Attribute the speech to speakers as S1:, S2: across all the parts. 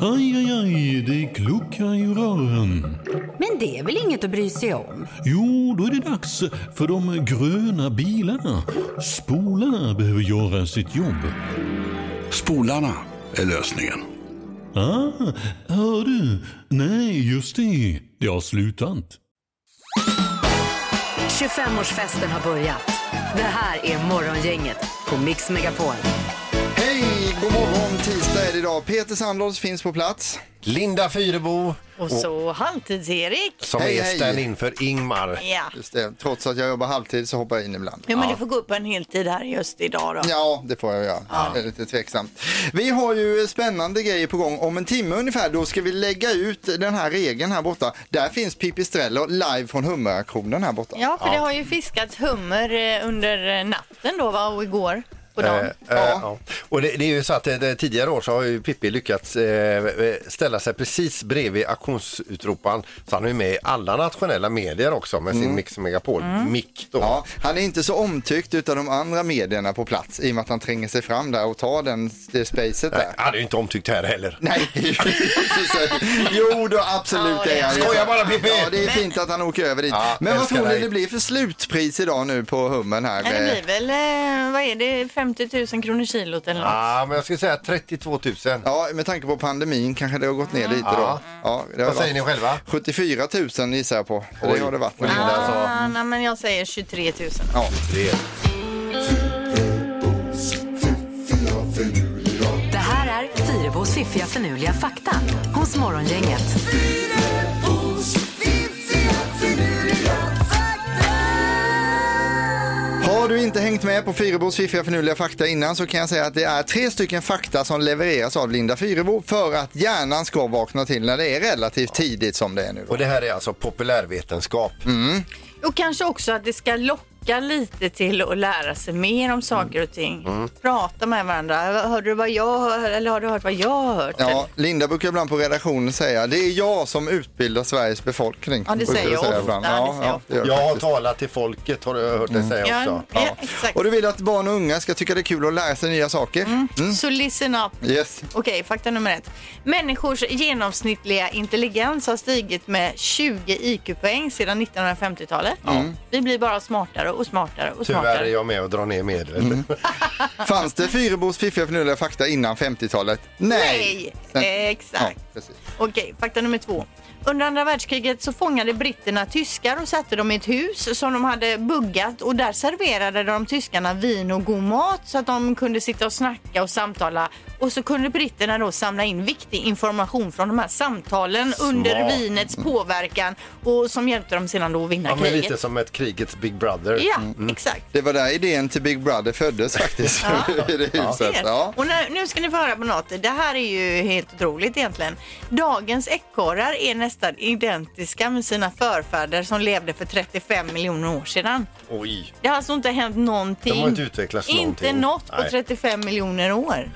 S1: Aj, aj, aj, det kluckar i rören.
S2: Men det är väl inget att bry sig om?
S1: Jo, då är det dags för de gröna bilarna. Spolarna behöver göra sitt jobb.
S3: Spolarna är lösningen.
S1: Ah, hör du? Nej, just det. Det har slutat.
S4: 25-årsfesten har börjat. Det här är Morgongänget på Mix Megapol.
S5: Hej, god morgon. Tisdag är det idag. Peter Sandholz finns på plats.
S6: Linda Fyrebo
S7: Och så halvtids-Erik.
S6: som
S5: Hej,
S6: är
S5: hej.
S6: stand-in för Ingmar.
S7: Ja.
S5: Just det. Trots att jag jobbar halvtid så hoppar jag in ibland.
S7: ja, men du får gå upp en heltid här just idag då.
S5: Ja, det får jag göra. Jag är lite tveksam. Vi har ju spännande grejer på gång. Om en timme ungefär då ska vi lägga ut den här regeln här borta. Där finns Pippi Strello live från Hummeraktionen här borta.
S7: Ja, för det har ju fiskats hummer eh, under eh, natten då va, och igår på
S6: Eh,
S7: dagen.
S6: eh, ja. Och det, det är ju så att eh, det, tidigare år så har ju Pippi lyckats eh, eh, ställa sig precis bredvid auktionsutroparen så han är ju med i alla nationella medier också med sin Mix Megapol-mick. då.
S5: Mm. Ja, han är inte så omtyckt utav de andra medierna på plats i och med att han tränger sig fram där och tar den, det spacet
S6: Nej,
S5: där.
S6: han är ju inte omtyckt här heller.
S5: Nej, jo då absolut
S7: Ja, det-
S5: det är han.
S6: Skoja bara, Pippi!
S5: Ja, det är fint att han åker över dit.
S6: Ja,
S5: Men vad
S6: älskar
S5: tror ni
S6: dig.
S5: det blir för slutpris idag nu på hummen här?
S7: Nej, det blir väl, eh, vad är det, 50 000 kronor kilot eller något?
S6: Ja, Ah, men jag skulle säga 32 000.
S5: Ja, med tanke på pandemin kanske det har gått Eh, ner lite då.
S6: Ja.
S5: Ja, det har
S6: Vad säger
S5: varit-
S6: ni själva?
S5: 74 000 gissar jag på. För det
S6: Oj.
S5: har det varit.
S6: Oj.
S5: nu.
S6: Ja. alltså.
S7: Ah, nej, men jag säger 23 000.
S5: Ja.
S4: Det här är Fyrebos fiffiga förnuliga fakta hos Morgongänget.
S5: Har du inte hängt med på Fyrebos fiffiga förnuliga fakta innan så kan jag säga att det är tre stycken fakta som levereras av Linda Fyrebo för att hjärnan ska vakna till när det är relativt tidigt som det är nu. Då.
S6: Och det här är alltså populärvetenskap.
S5: Mm.
S7: Och kanske också att det ska locka lite till att lära sig mer om saker och ting.
S6: Mm.
S7: Prata med varandra. Hörde du vad jag hör, eller har du hört vad jag har hört?
S5: Ja, Linda brukar ibland på redaktionen säga det är jag som utbildar Sveriges befolkning.
S7: Ja, det
S5: brukar
S7: säger
S5: du
S7: jag
S5: säga
S7: ofta,
S5: ibland.
S7: det
S5: Ja,
S7: säger jag
S5: ja, det gör
S6: Jag
S5: du.
S6: har talat till folket har du hört dig säga
S7: ja,
S6: också.
S7: ja, exakt. Mm.
S5: Och du vill att barn och unga ska tycka det är kul att lära sig nya saker? Mm.
S7: Så listen up.
S5: Yes.
S7: Okej, fakta nummer ett. Människors genomsnittliga intelligens har stigit med 20 IQ-poäng sedan 1950-talet. Vi blir bara smartare och smartare och
S6: Tyvärr är
S7: smartare.
S6: jag med och drar ner medlet.
S5: Mm. Fanns det Fyrebos fiffiga förnuliga fakta innan 50-talet?
S7: Nej, exakt.
S5: Ja, precis.
S7: Okej, fakta nummer två. Under andra världskriget så fångade britterna tyskar och satte dem i ett hus som de hade buggat och där serverade de tyskarna vin och god mat så att de kunde sitta och snacka och samtala och så kunde britterna då samla in viktig information från de här samtalen under vinets påverkan och som hjälpte dem sedan då att vinna
S6: Ja, men
S7: kriget.
S6: lite som ett krigets Big Brother. Mm.
S7: Ja, exakt.
S5: Mm. Det var där idén till Big Brother föddes faktiskt. I det huset.
S7: Ser.
S5: Ja.
S7: Och nu, nu ska ni få höra på något. Det här är ju helt otroligt egentligen. Dagens ekorrar är nästan identiska med sina förfäder som levde för 35 miljoner år sedan.
S6: Oj.
S7: Det har alltså inte hänt någonting.
S6: De har inte utvecklats
S7: Inte
S6: någonting.
S7: något på
S6: Nej.
S7: 35 miljoner år.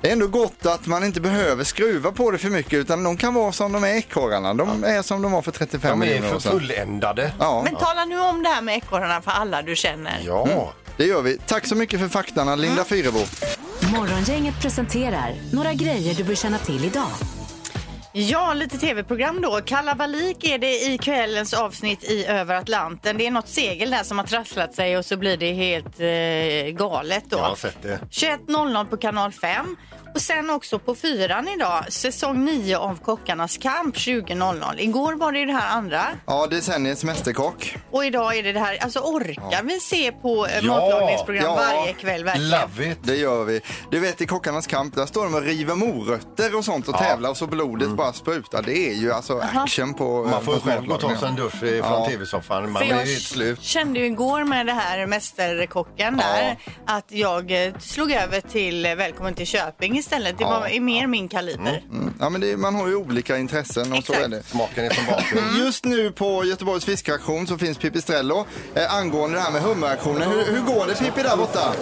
S5: Det är ändå gott att man inte behöver skruva på det för mycket utan de kan vara som de är ekorrarna. De är som de var för 35
S6: De är
S5: miljoner år
S6: för
S5: sedan.
S6: fulländade.
S5: Ja,
S7: Men tala nu om det här med ekorrarna för alla du känner.
S6: Ja.
S5: Mm. det gör vi. Tack så mycket för faktarna, Linda Fyrebo.
S4: Morgongänget presenterar några grejer du bör känna till idag.
S7: Ja, lite tv-program då. Kalabalik är det i kvällens avsnitt i Över Atlanten. Det är något segel där som har trasslat sig och så blir det helt eh, galet då.
S6: Jag har sett det.
S7: 21.00 på kanal 5. Och sen också på fyran idag, säsong 9 av Kockarnas kamp 20.00. Igår var det ju det här andra
S5: Ja, decenniets mästerkock.
S7: och idag är det det här. Alltså orkar vi se på eh,
S6: Ja,
S7: matlagningsprogram
S5: ja.
S7: varje kväll verkligen?
S6: Love it.
S5: Det gör vi. Du vet i Kockarnas kamp, där står de och river morötter och sånt och tävlar och så blodet bara sprutar. Det är ju alltså action på
S6: Mm. Man får
S5: på
S6: själv gå och ta sig en
S5: matlagningen.
S6: dusch eh, från
S5: Ja.
S6: tv-soffan. Man
S7: För
S6: blir
S7: jag
S6: helt slut.
S7: kände ju igår med det här Mästerkocken där att jag eh, slog över till eh, Välkommen till Köping istället. Det var är mer min kaliber.
S5: Mm. Ja, men det, man har ju olika intressen och så
S7: Exakt.
S5: är det.
S6: Smaken är som baken.
S5: Just nu på Göteborgs fiskauktion så finns Pipistrello eh, angående det här med hummeraktionen. Hur, hur går det Pippi där borta?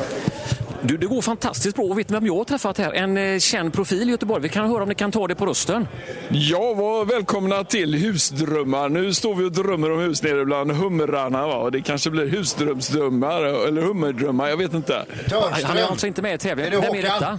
S8: Du, det går fantastiskt bra. Och Vet ni vem jag har träffat här? En eh, känd profil i Göteborg. Vi kan höra om ni kan ta det på rösten.
S9: Ja, vad välkomna till Husdrömmar. Nu står vi och drömmer om hus nere bland humrarna. Va? Det kanske blir husdrömsdrömmar eller hummerdrömmar, jag vet inte.
S8: Han är alltså inte med i
S6: Är
S8: tävlingen.
S6: det
S8: Vem är
S6: Håkan?
S8: detta?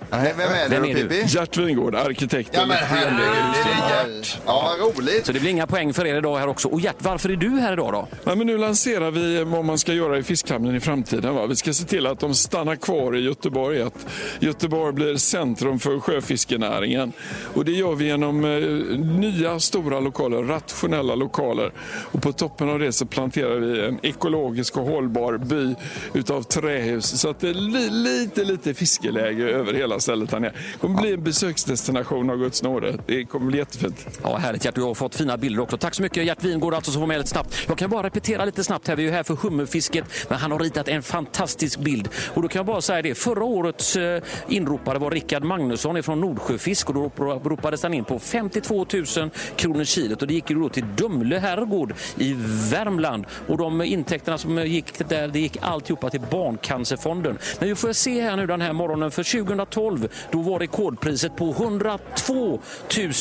S5: Nej, Vem är det
S8: Vem
S5: då
S8: är du?
S5: Pippi?
S9: Gert Wingård, arkitekten.
S6: herregud. Det är
S5: Ja, vad roligt.
S8: Så det blir inga poäng för er idag här också. Och Gert, varför är du här idag då?
S9: Nej, men nu lanserar vi eh, vad man ska göra i fiskhamnen i framtiden. Va? Vi ska se till att de stannar kvar i Göteborg. Att Göteborg blir centrum för sjöfiskenäringen. Och det gör vi genom eh, nya stora lokaler, rationella lokaler. Och på toppen av det så planterar vi en ekologisk och hållbar by utav trähus. Så att det är li, lite, lite fiskeläge över hela stället här nere. Det kommer bli en besöksdestination av Guds nåde. Det kommer bli jättefint.
S8: Ja, härligt Gert, du har fått fina bilder också. Tack så mycket Gert Wingård alltså som var med lite snabbt. Jag kan bara repetera lite snabbt här, vi är ju här för hummerfisket, men han har ritat en fantastisk bild. Och då kan jag bara säga det, förra årets eh, inropare var Rickard Magnusson från Nordsjöfisk och då rop- ropades han in på 52 000 kronor kilot och det gick ju då till Dumle herrgård i Värmland. Och de intäkterna som gick där, det gick alltihopa till Barncancerfonden. Men vi får se här nu den här morgonen, för 2012 då var rekordpriset på 102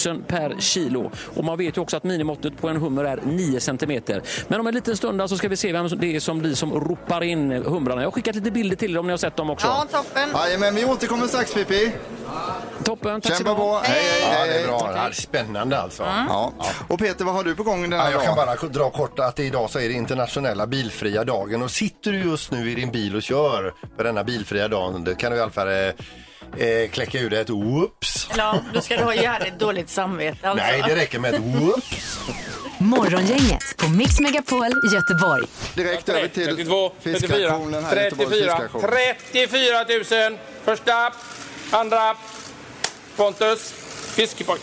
S8: 000 per kilo. Och man vet ju också att minimåttet på en hummer är 9 centimeter. Men om en liten stund där så ska vi se vem det är som blir som ropar in humrarna. Jag har skickat lite bilder till er om ni har sett dem också.
S7: Ja, toppen.
S5: Jajamän, vi återkommer strax Pippi.
S8: Toppen, tack så
S5: Kämpa
S8: mycket.
S5: på. Hej, hej,
S6: Ja,
S5: hej.
S6: det är
S5: hej.
S6: bra. Det här är spännande alltså.
S5: Ja. Och Peter, vad har du på gång den
S6: Ja,
S5: här
S6: jag kan
S5: dagen?
S6: bara dra kort att det idag så är det internationella bilfria dagen och sitter du just nu i din bil och kör på denna bilfria dagen då kan du i alla fall eh, eh, kläcka ur dig ett whoops.
S7: Ja, då ska du ha jävligt dåligt samvete. Alltså.
S6: Nej, det räcker med ett whoops.
S4: Morgongänget på Mix Megapol Göteborg.
S5: Direkt över till fiskaktionen här, Göteborgs fiskaktion.
S10: 34 000. Första, andra, Pontus, fiskepojk.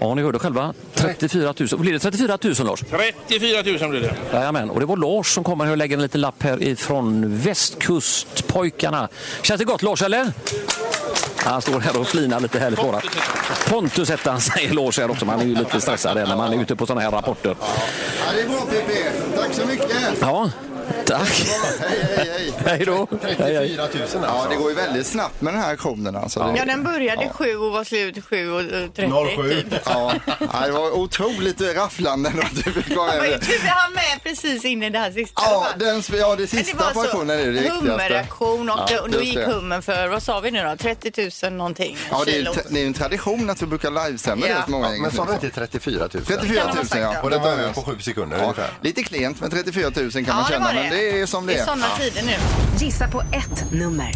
S8: Ja, ni hörde själva. 34 000. Blir det 34 000 Lars?
S10: 34 000 blir det.
S8: Jajamän. Och det var Lars som kommer här och lägger en liten lapp här ifrån västkustpojkarna. Känns det gott Lars eller? Han står här och flinar lite härligt bara. Pontus hette han, säger Lars här också. Man är ju lite stressad här när man är ute på sådana här rapporter.
S5: Ja, det är bra Pippi. Tack så mycket.
S8: Ja, tack.
S5: Hej, hej, hej.
S8: Hej då. Hej, hej.
S6: 34 000 alltså.
S5: Ja, det går ju väldigt snabbt med den här aktionen alltså. Det-
S7: Ja, den började sju och var slut sju och eh, 30.
S6: 07.
S5: Ja, ja, det var otroligt rafflande ändå att du fick vara
S7: Det var ju
S5: med.
S7: tur vi hann med precis in i det här sista.
S5: Ja,
S7: va?
S5: den, sp- ja, det
S7: Men
S5: sista på aktionen är det viktigaste.
S7: hummeraktion och
S5: Ja,
S7: då- och då
S5: just
S7: gick
S5: det.
S7: hummen för, vad sa vi nu då, 30 000 någonting
S5: Ja, det är, ju
S7: kilo.
S5: te- det är ju en tradition att vi brukar livesända det
S7: Ja.
S5: så många
S6: Men sa
S5: gånger.
S6: du inte 34 000?
S5: 34 000 ja.
S6: Och det var över på 7 sekunder
S5: Ja,
S6: ungefär.
S5: lite klent med 34 000 kan
S7: Ja,
S5: man
S7: det
S5: känna,
S7: var
S5: men det är som det
S7: Det
S5: är.
S7: är sådana tider nu.
S4: Gissa på ett nummer.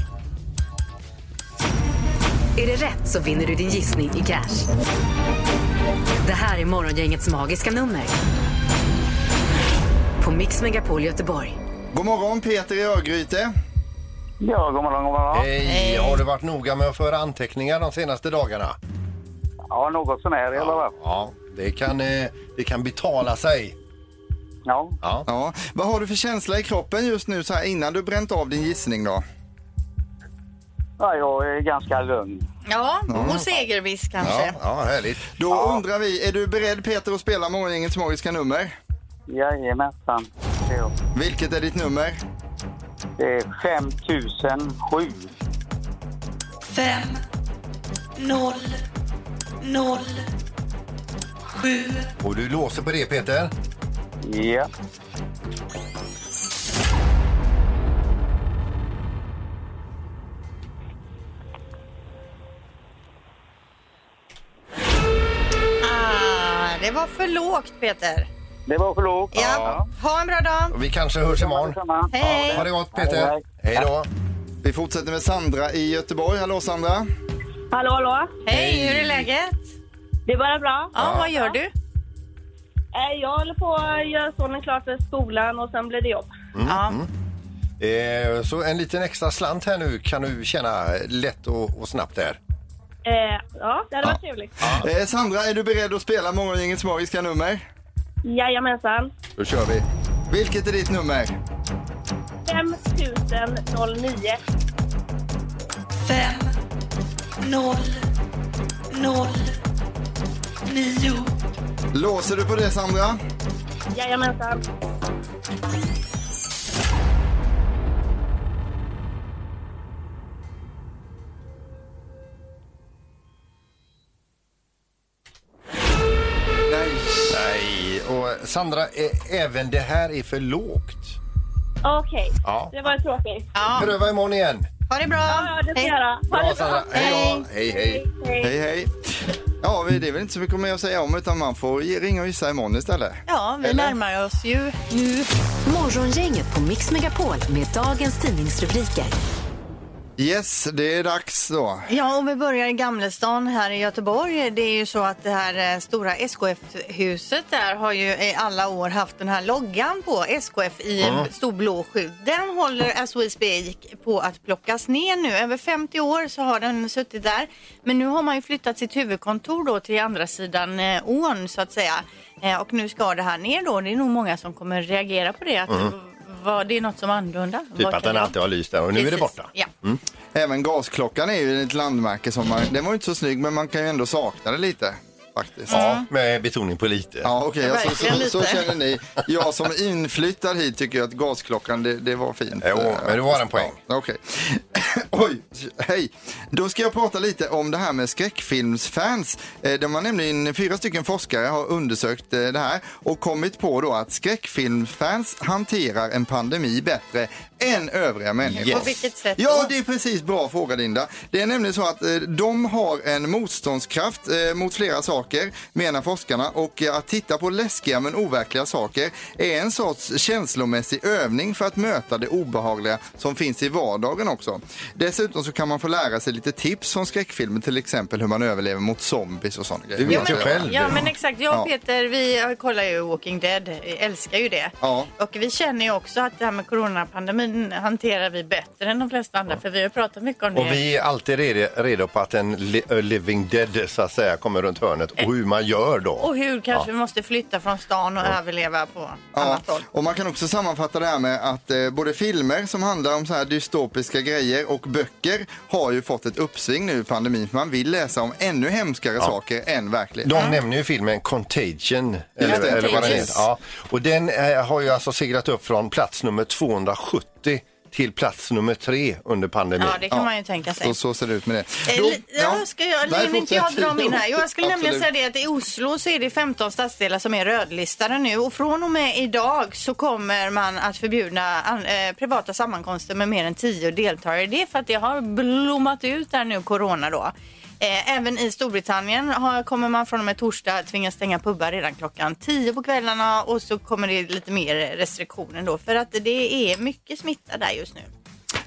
S4: Är det rätt så vinner du din gissning i cash. Det här är Morgongängets magiska nummer. På Mix Megapol Göteborg.
S5: God morgon Peter i Örgryte.
S10: Ja, god morgon, god morgon.
S6: Hej, har du varit noga med att föra anteckningar de senaste dagarna?
S10: Ja, något sån här i alla fall.
S6: Ja, det kan, eh, det kan betala sig.
S10: Ja.
S6: Ja.
S5: Ja. Vad har du för känsla i kroppen just nu så här innan du bränt av din gissning då?
S10: ja, jag är ganska lugn.
S7: Ja, och segerviss kanske.
S6: Ja, ja, härligt.
S5: Då undrar vi, är du beredd Peter att spela Morgongängets magiska nummer?
S10: Jajamensan. Ja.
S5: Vilket är ditt nummer?
S10: Det är 5007.
S6: Och du låser på det Peter?
S10: Ja.
S7: Ah, det var för lågt Peter.
S10: Det var för lågt.
S7: Ja. Ha en bra dag.
S6: Och Vi kanske hörs imorgon.
S10: Detsamma.
S7: Hej.
S6: Ha det gott Peter.
S10: Hej.
S6: Hej då.
S5: Vi fortsätter med Sandra i Göteborg. Hallå Sandra!
S11: Hallå, hallå.
S7: Hej, hur är läget?
S11: Det är bara bra.
S7: Ja, vad gör du?
S11: Eh, Jag håller på att göra sonen klar för skolan och sen blir det jobb.
S7: Ja.
S6: Eh, så en liten extra slant här nu kan du känna lätt och, och snabbt där.
S11: Eh, Ja, det hade varit trevligt.
S5: Eh, Sandra, är du beredd att spela Morgongängets magiska nummer?
S11: Jajamensan.
S5: Då kör vi. Vilket är ditt nummer?
S11: 5009.
S5: Låser du på det Sandra?
S11: Jajamensan.
S5: Nej.
S6: Nej, och Sandra, eh, även det här är för lågt.
S11: Okej,
S6: Ja.
S11: det var tråkigt.
S6: Pröva imorgon igen.
S7: Ha det bra!
S11: Ja, det ska jag göra. Ha
S6: Bra
S11: det
S6: Sandra. Hej då. Hej hej.
S5: Hej, hej. Ja, vi- det är väl inte så mycket mer att säga om utan man får ge- ringa och gissa imorgon istället.
S7: Ja, vi
S5: Eller?
S7: närmar oss ju nu.
S4: Morgongänget på Mix Megapol med dagens tidningsrubriker.
S5: Yes, det är dags då.
S7: Ja, och vi börjar i Gamlestan här i Göteborg. Det är ju så att det här eh, stora SKF-huset där har ju i alla år haft den här loggan på SKF i en stor blå skylt. Den håller as we speak på att plockas ner nu. Över 50 år så har den suttit där. Men nu har man ju flyttat sitt huvudkontor då till andra sidan eh, ån så att säga. Eh, Och nu ska det här ner då. Det är nog många som kommer reagera på det. Att vad, det är något som är annorlunda.
S6: Mm. Typ
S7: Vad kan
S6: att den
S7: det vara?
S6: alltid har lyst där och nu är det
S7: Precis.
S6: borta.
S7: Ja.
S5: Även gasklockan är ju ett landmärke som man, den var ju inte så snygg men man kan ju ändå sakna det lite faktiskt.
S7: Mm.
S6: Ja, med betoning på lite.
S5: Ja, okej, alltså,
S7: Verkligen
S5: så, så
S7: lite.
S5: känner ni. Jag som inflyttad hit tycker att gasklockan, det, det var fint.
S6: Jo, men det var en poäng.
S5: Ja, Okej. Oj, hej. Då ska jag prata lite om det här med skräckfilmsfans. Eh, De har nämligen fyra stycken forskare har undersökt eh, det här och kommit på då att skräckfilmsfans hanterar en pandemi bättre än övriga människor.
S7: På vilket sätt då?
S5: Ja, det är precis bra fråga Linda. Det är nämligen så att eh, de har en motståndskraft eh, mot flera saker, menar forskarna. Och eh, att titta på läskiga men overkliga saker är en sorts känslomässig övning för att möta det obehagliga som finns i vardagen också. Dessutom så kan man få lära sig lite tips från skräckfilmer, till exempel hur man överlever mot zombies och sådana grejer.
S6: vet ju själv.
S7: Ja, men exakt. Jag
S5: Ja.
S7: och Peter vi kollar ju Walking Dead, Vi älskar ju det.
S5: Ja.
S7: Och vi känner ju också att det här med coronapandemin hanterar vi bättre än de flesta andra, för vi har ju pratat mycket om det.
S6: Och vi är alltid redo, redo på att en li, a living dead så att säga kommer runt hörnet och hur man gör då.
S7: Eh. Och hur kanske vi måste flytta från stan och överleva på
S5: Ja,
S7: annat håll.
S5: och man kan också sammanfatta det här med att eh, både filmer som handlar om så här dystopiska grejer och böcker har ju fått ett uppsving nu i pandemin. För man vill läsa om ännu hemskare saker än verkligen.
S6: De nämner ju filmen Contagion. Eller,
S5: det.
S6: eller vad den heter.
S5: Contagious.
S6: Ja. Och den eh, har ju alltså seglat upp från plats nummer 270 till plats nummer tre under pandemin.
S7: Ja, det kan man ju tänka sig.
S5: Så, så ser det ut med det.
S7: Eh,
S5: Då-
S7: li- ja, ska jag,
S5: Nej,
S7: Nej, inte jag
S5: fortsätt.
S7: dra min här. Jo, jag skulle nämligen säga
S5: Absolut.
S7: det att i Oslo så är det 15 stadsdelar som är rödlistade nu och från och med idag så kommer man att förbjuda an, eh, privata sammankomster med mer än 10 deltagare. Det är för att det har blommat ut där nu, corona då. Eh, Även i Storbritannien har, kommer man från och med torsdag tvingas stänga pubbar redan klockan 10 på kvällarna och så kommer det lite mer restriktioner då för att det är mycket smitta där just nu.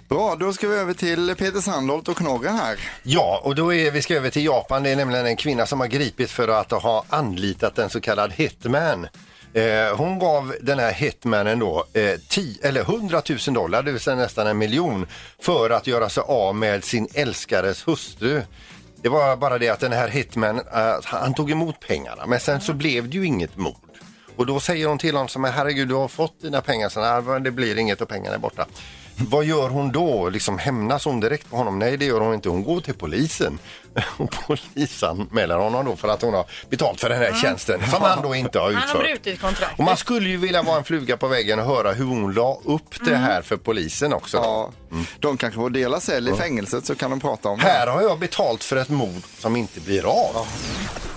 S5: Bra, då ska vi över till Peter Sandholt och Knorren här.
S6: Ja, och då är vi ska över till Japan. Det är nämligen en kvinna som har gripits för att ha anlitat en så kallad hitman. Eh, hon gav den här hitmanen då eh, 10, eller 100 000 dollar, det vill säga nästan en miljon, för att göra sig av med sin älskares hustru. Det var bara det att den här hitmanen, eh, han tog emot pengarna, men sen så blev det ju inget mord. Och då säger hon till honom som är herregud du har fått dina pengar, så nej, men det blir inget och pengarna är borta. Vad gör hon då? Liksom hämnas hon direkt på honom? Nej, det gör hon inte. Hon går till polisen och polisanmäler honom då för att hon har betalt för den här
S5: Mm.
S6: tjänsten som han då inte har
S7: Han
S6: utfört.
S7: har brutit kontraktet.
S6: Och man skulle ju vilja vara en fluga på väggen och höra hur hon la upp det här för polisen också. då.
S5: Mm.
S6: Mm.
S5: Ja, De kanske får dela cell i fängelset så kan de prata om det.
S6: Här har jag betalt för ett mord som inte blir av.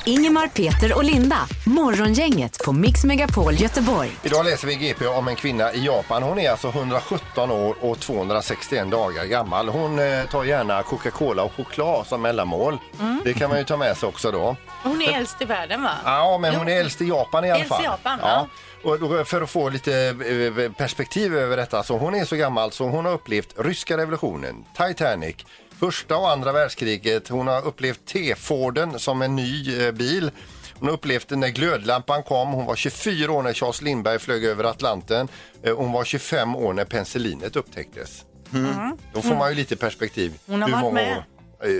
S4: Ingemar, Peter och Linda. Morgongänget på Mix Megapol Göteborg.
S6: Idag läser vi i GP om en kvinna i Japan. Hon är alltså 117 år och 261 dagar gammal. Hon eh, tar gärna Coca-Cola och choklad som mellanmål.
S7: Mm.
S6: Det kan man ju ta med sig också då.
S7: Hon är äldst i världen va?
S6: Ja, men hon är
S7: Jo.
S6: äldst i Japan i alla
S7: Äldst i
S6: fall.
S7: Japan,
S6: ja. Och då, för att få lite eh, perspektiv över detta, så hon är så gammal så hon har upplevt ryska revolutionen, Titanic, första och andra världskriget, hon har upplevt T-Forden som en ny eh, bil, hon har upplevt när glödlampan kom, hon var 24 år när Charles Lindbergh flög över Atlanten, Eh, hon var 25 år när penicillinet upptäcktes. Mm. Då får man ju lite perspektiv.
S7: Mm. Hon har
S6: hur
S7: varit
S6: många
S7: med.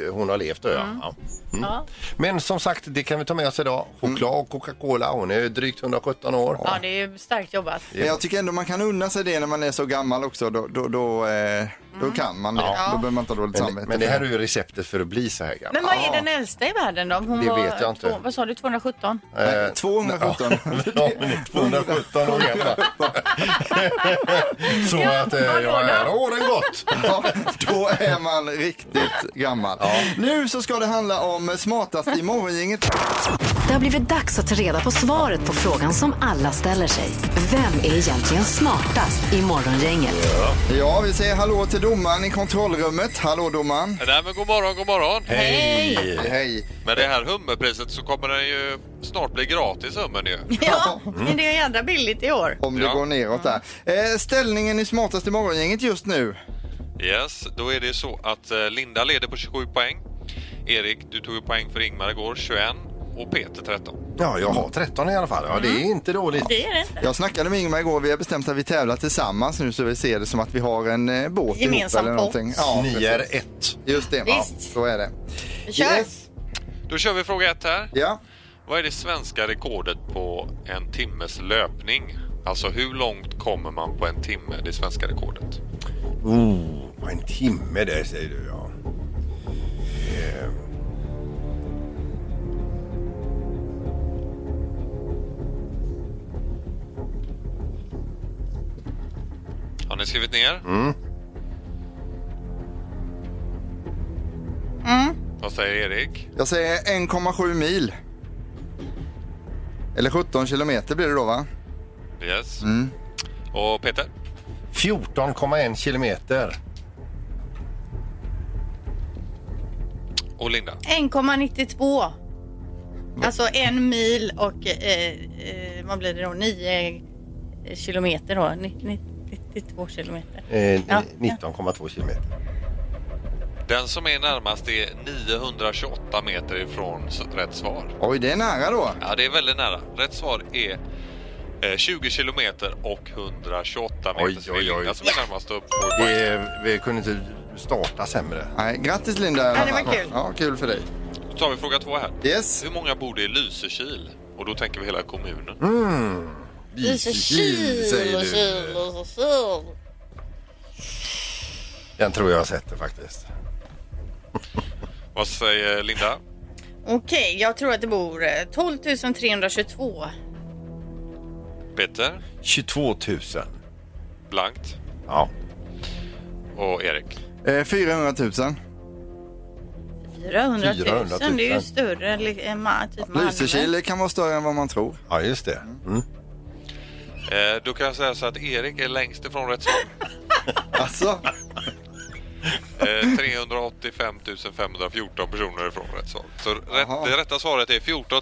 S6: år, eh, Hon har levt, då, ja. ja. Mm. Men som sagt, det kan vi ta med oss idag. Choklad och Coca-Cola. Hon är drygt 117 år.
S7: Ja, det är ju starkt jobbat.
S5: Men jag tycker ändå man kan unna sig det när man är så gammal också. Då, då, då, eh,
S7: Mm.
S5: då kan man det. Då behöver man inte ha dåligt samvete.
S6: Men, men det här är ju receptet för att bli så här gammal.
S7: Men vad är den äldsta i världen då? Om Hon
S6: Det
S7: var
S6: vet jag inte.
S7: Två, vad sa du, 217?
S5: Nej, 217.
S6: Eh, Ja, men det är 217 år gammal. så att eh, jag är åren gått.
S5: Ja, då är man riktigt gammal. gammal. Nu så ska det handla om smartast i morgongänget.
S4: Det har blivit dags att ta reda på svaret på frågan som alla ställer sig. Vem är egentligen smartast i Morgongänget?
S5: Ja, vi säger hallå till domaren i kontrollrummet. Hallå domaren.
S12: Nej men god morgon, god morgon.
S5: Hej. Hej.
S12: Med det här hummerpriset så kommer den ju snart bli gratis hummern ju.
S7: Ja, men det är jädra billigt i år.
S5: Om det går neråt där.
S7: Mm.
S5: Eh, ställningen i smartast i morgongänget just nu.
S12: Yes, då är det ju så att eh, Linda leder på 27 poäng. Erik, du tog ju poäng för Ingmar igår, 21. Och Peter 13.
S6: Ja, jag har 13 i alla fall. Ja, det är inte dåligt.
S12: Mm. Det är det inte.
S5: Jag snackade med Ingmar igår. Vi har bestämt att vi tävlar tillsammans nu så vi ser det som att vi har en eh, båt
S6: Gemensam
S5: ihop eller någonting.
S6: pott. Ni är
S5: precis. Just det, ja, så är det.
S12: Kör. Då kör vi fråga ett här.
S5: Ja.
S12: Vad är det svenska rekordet på en timmes löpning? Alltså hur långt kommer man på en timme, det svenska rekordet?
S6: Oh, en timme där säger du ja. Eh,
S12: Har ni skrivit ner?
S6: Mm.
S12: Vad säger Erik?
S5: Jag säger 1,7 mil. Eller 17 kilometer blir det då va?
S12: Yes.
S5: Mm.
S12: Och Peter?
S6: 14,1 kilometer.
S12: Och Linda?
S7: 1,92. Alltså en mil och eh, eh, vad blir det då? 9 kilometer då? Ni- ni- 92 kilometer.
S6: Eh,
S7: Ja.
S6: 19,2 kilometer.
S12: Den som är närmast är 928 meter ifrån s- rätt svar.
S5: Oj, det är nära då.
S12: Ja, det är väldigt nära. Rätt svar är eh, 20 kilometer och 128 meter.
S6: Oj,
S12: Så det är
S6: oj, oj.
S12: Linda som är närmast upp.
S6: Det, vi kunde inte starta sämre.
S5: Nej, grattis Linda. i alla
S12: Ja, det var
S5: fall.
S12: kul.
S5: Ja, kul för dig.
S12: Då tar vi fråga två här.
S5: Yes.
S12: Hur många bor det i Lysekil? Och då tänker vi hela kommunen.
S6: Mm.
S12: Lysekil, säger du.
S7: Lysekil.
S6: Den tror jag har sett det faktiskt.
S12: Vad säger Linda?
S7: Okej, jag tror att det bor eh, 12 322.
S12: Peter?
S6: 22 000.
S12: Blankt.
S6: Ja.
S12: Och Erik?
S5: Eh, 400 000.
S7: 400 000,
S5: 400 000.
S7: det är ju större än li- än ma- typ Malmö.
S5: Lysekil kan vara större än vad man tror.
S6: Ja, just det. Mm.
S12: Eh, då kan jag säga så att Erik är längst ifrån rätt svar.
S5: alltså?
S12: Eh, 385 514 personer ifrån rätt svar. Så rätt,
S5: Jaha.
S12: det rätta svaret är 14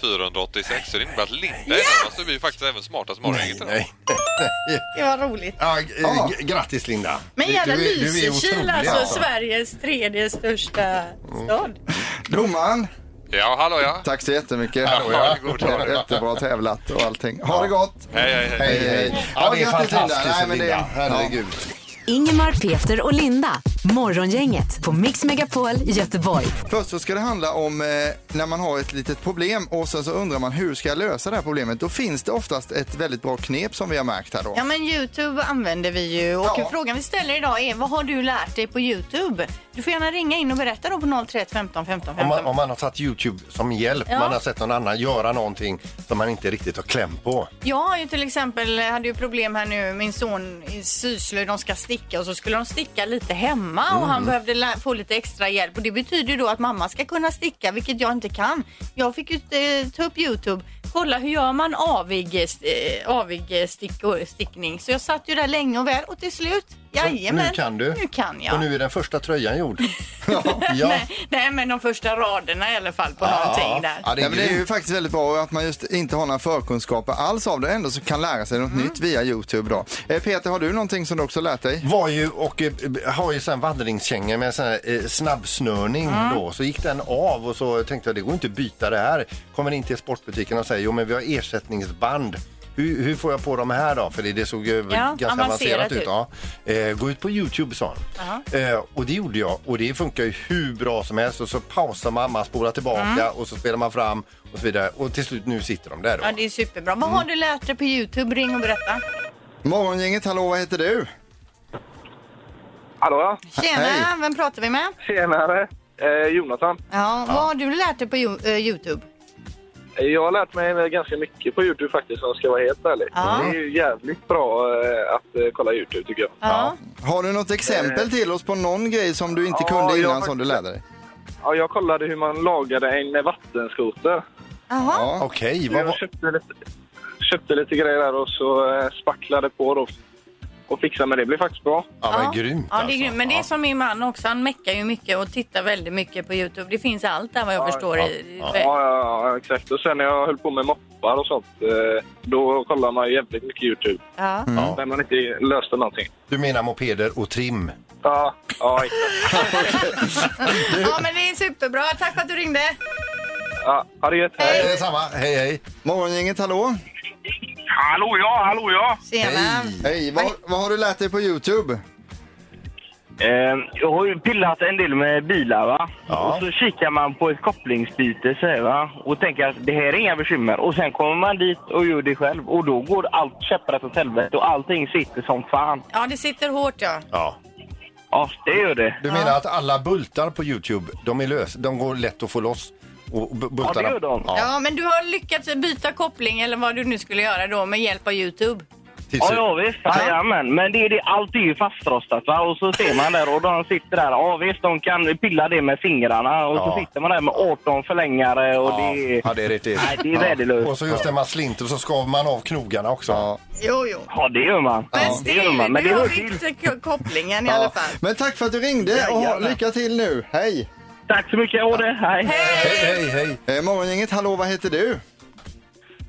S12: 486. Så det innebär att Linda är närmast. Du blir ju faktiskt även smartast morgongänget idag.
S6: Nej.
S7: Det var roligt.
S6: Ja, g- ja. g- Grattis Linda!
S7: Men
S6: Du-
S7: jävla
S6: du är- du är
S7: Lysekil
S6: otrolig,
S7: alltså, Sveriges tredje största
S6: Mm.
S7: stad.
S5: Domaren.
S12: Ja, hallå ja.
S5: Tack så jättemycket.
S12: Hallå, ja. God dag.
S5: Jättebra tävlat och allting. Ha det gott.
S12: Hej, hej,
S5: hej. hej, hej.
S6: Ja, det är
S5: grattis,
S6: fantastiskt,
S5: Nej, men det-
S6: Linda.
S5: ja.
S6: Herregud.
S4: Ingemar, Peter och Linda. Morgongänget på Mix Megapol Göteborg.
S5: Först så ska det handla om eh, när man har ett litet problem och sen så undrar man hur ska jag lösa det här problemet? Då finns det oftast ett väldigt bra knep som vi har märkt här då.
S7: Ja men Youtube använder vi ju och
S5: Ja.
S7: frågan vi ställer idag är vad har du lärt dig på Youtube? Du får gärna ringa in och berätta då på 031 15 15
S6: Om
S7: 15.
S6: man, om man har tagit Youtube som hjälp,
S7: Ja.
S6: man har sett någon annan göra någonting som man inte riktigt har kläm på.
S7: Jag har ju till exempel, hade ju problem här nu, min son i syslöjd, de ska sticka och så skulle de sticka lite hemma och
S6: Mm.
S7: han behövde lä- få lite extra hjälp och det betyder ju då att mamma ska kunna sticka vilket jag inte kan. Jag fick ju eh, ta upp Youtube, kolla hur gör man avig, eh, avig eh, stick och stickning. Så jag satt ju där länge och väl och till slut, jajamän.
S6: Nu kan du.
S7: Nu kan jag.
S6: Och nu är den första tröjan gjord.
S7: Nej, nej, men de första raderna i alla fall på någonting där.
S5: Ja, det, är men det är ju faktiskt väldigt bra att man just inte har några förkunskaper alls av det ändå så kan lära sig något
S7: Mm.
S5: nytt via Youtube då. Eh, Peter, har du någonting som du också lärt dig?
S6: Var ju och eh, har ju sån vandringskängor med sån här eh, snabbsnörning då. Så gick den av och så tänkte jag det går inte att byta det här. Kommer in till sportbutiken och säger jo men vi har ersättningsband. Hur, hur får jag på de här då? För det, det såg ju ganska
S13: avancerat
S6: avancerat ut.
S13: ut.
S6: Ja. Eh, gå ut på Youtube sa han. Eh, och det gjorde jag och det funkar ju hur bra som helst. Och så pausar man, man spolar tillbaka
S7: Mm.
S6: och så spelar man fram och så vidare. Och till slut nu sitter de där då.
S7: Ja, det är superbra. Vad
S5: Mm.
S7: har du lärt dig på Youtube? Ring och berätta.
S5: Morgongänget, hallå, vad heter du?
S10: Hallå?
S7: Tjena, vem pratar vi med?
S10: Tjenare! Eh, Jonathan.
S7: Ja, Vad har du lärt dig på Yo- eh, Youtube?
S13: Jag har lärt mig ganska mycket på Youtube faktiskt om jag ska vara helt ärlig.
S5: Ja.
S13: Det är ju jävligt bra eh, att eh, kolla Youtube tycker jag.
S5: Ja. Har du något exempel till oss på någon grej som du inte
S13: Eh. Ja,
S5: kunde
S13: jag
S5: innan
S13: har
S5: som du lärde dig?
S13: Ja, jag kollade hur man lagade en vattenskoter.
S7: Jaha.
S6: Okej,
S13: vad Jag köpte lite, köpte lite grejer där och så eh, spacklade på då och fixade med det. Det blev faktiskt bra.
S6: Ja, men grymt
S7: Ja,
S14: alltså.
S7: det är grymt. alltså. Men det är som min man också. Han meckar ju mycket och tittar väldigt mycket på Youtube. Det finns allt där vad jag förstår.
S13: Ja,
S7: i-
S13: ja, ja, ja, exakt. Och sen när jag höll på med moppar och sånt, eh, då kollar man ju jävligt mycket Youtube.
S7: Ja.
S14: Mm.
S6: Ja.
S13: När man inte löste någonting.
S6: Du menar mopeder och trim?
S13: Ja, ja exakt.
S7: ja, men det är superbra. Tack för att du ringde.
S13: Ja, ha det gött.
S6: Hej. Detsamma. Hej, hej.
S5: Morgongänget, hallå?
S15: Hallå ja, hallå ja.
S7: Tjena.
S5: Hej, vad, vad har du lärt dig på Youtube?
S15: Eh, jag har ju pillat en del med bilar va.
S5: Ja.
S15: Och så kikar man på ett kopplingsbyte så här, va. Och tänker att det här är inga bekymmer. Och sen kommer man dit och gör det själv. Och då går allt käpprätt åt helvete och allting sitter som fan.
S7: Ja, det sitter hårt ja.
S6: Ja.
S15: Ja, det gör det.
S6: Du menar att alla bultar på Youtube, de är lös, de går lätt att få loss? Och bu- bultarna...
S15: gör de.
S7: Ja. men du har lyckats byta koppling eller vad du nu skulle göra då med hjälp av Youtube.
S15: Ja, ja visst. Jajamän. Men det är det, allt är ju fastrostat va. Och så ser man där och de sitter där. Ja visst, de kan pilla det med fingrarna. Och så
S6: Ja.
S15: sitter man där med 18 förlängare och det är...
S6: Ja, det är rätt
S15: Nej, det är värdelöst.
S6: Och så just det, man slinter och så skav man av knogarna också. Ja,
S7: Jo, jo.
S15: det gör man.
S7: Men
S15: det gör
S7: still,
S15: man. Men det
S7: du har
S15: hör
S7: bytt ko- kopplingen i
S5: Ja.
S7: alla fall.
S5: Men tack för att du ringde och
S7: Jajamän.
S5: lycka till nu. Hej!
S15: Tack så mycket, jag det. Hej!
S6: Hej, hej,
S5: hej! Eh, morgongänget, hallå, vad heter du?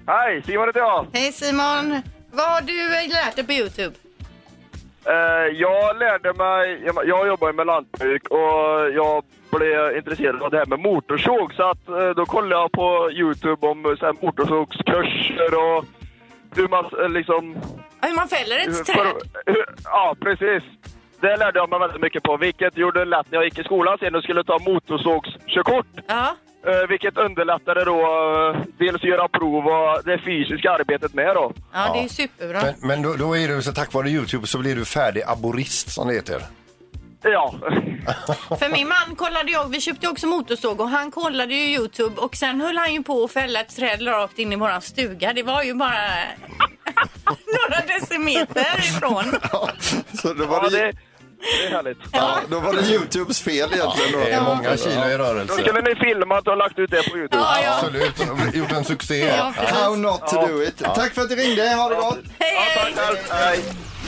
S13: Hej, Simon heter jag.
S7: Hej Simon! Vad har du eh, lärt dig på Youtube?
S13: Eh, jag lärde mig, jag- jag jobbar ju med lantbruk och jag blev intresserad av det här med motorsåg. Så att eh, då kollade jag på Youtube om eh, så här, motorsågskurser och hur man eh, liksom...
S7: Ja, Hur man fäller
S13: hur-
S7: ett
S13: för-
S7: träd?
S13: hur- Ja, precis. Det lärde jag mig väldigt mycket på, vilket gjorde det lätt när jag gick i skolan sen och skulle ta motorsågskörkort. Eh,
S7: Ja.
S13: vilket underlättade då eh, dels göra prov och det fysiska arbetet med då.
S7: Ja, det är ju superbra.
S6: Men, men då, då är du så tack vare Youtube så blir du färdig aborist som det heter.
S13: Ja.
S7: För min man kollade jag, vi köpte ju också motorsåg och han kollade ju Youtube och sen höll han ju på att fälla ett träd rakt in i våran stuga. Det var ju bara några decimeter ifrån.
S5: Så då var
S13: ja,
S5: det,
S13: det, det är härligt.
S5: ja, då var det Youtubes fel egentligen. då.
S6: det är många kilo i rörelse.
S13: Då skulle ni filmat och lagt ut det på Youtube.
S7: Ja, ja.
S6: Absolut, de har gjort en succé.
S5: Ja, precis. How not to
S6: Ja.
S5: do it.
S6: Ja.
S5: Tack för att du ringde, ha det gott!
S7: Hej, hej!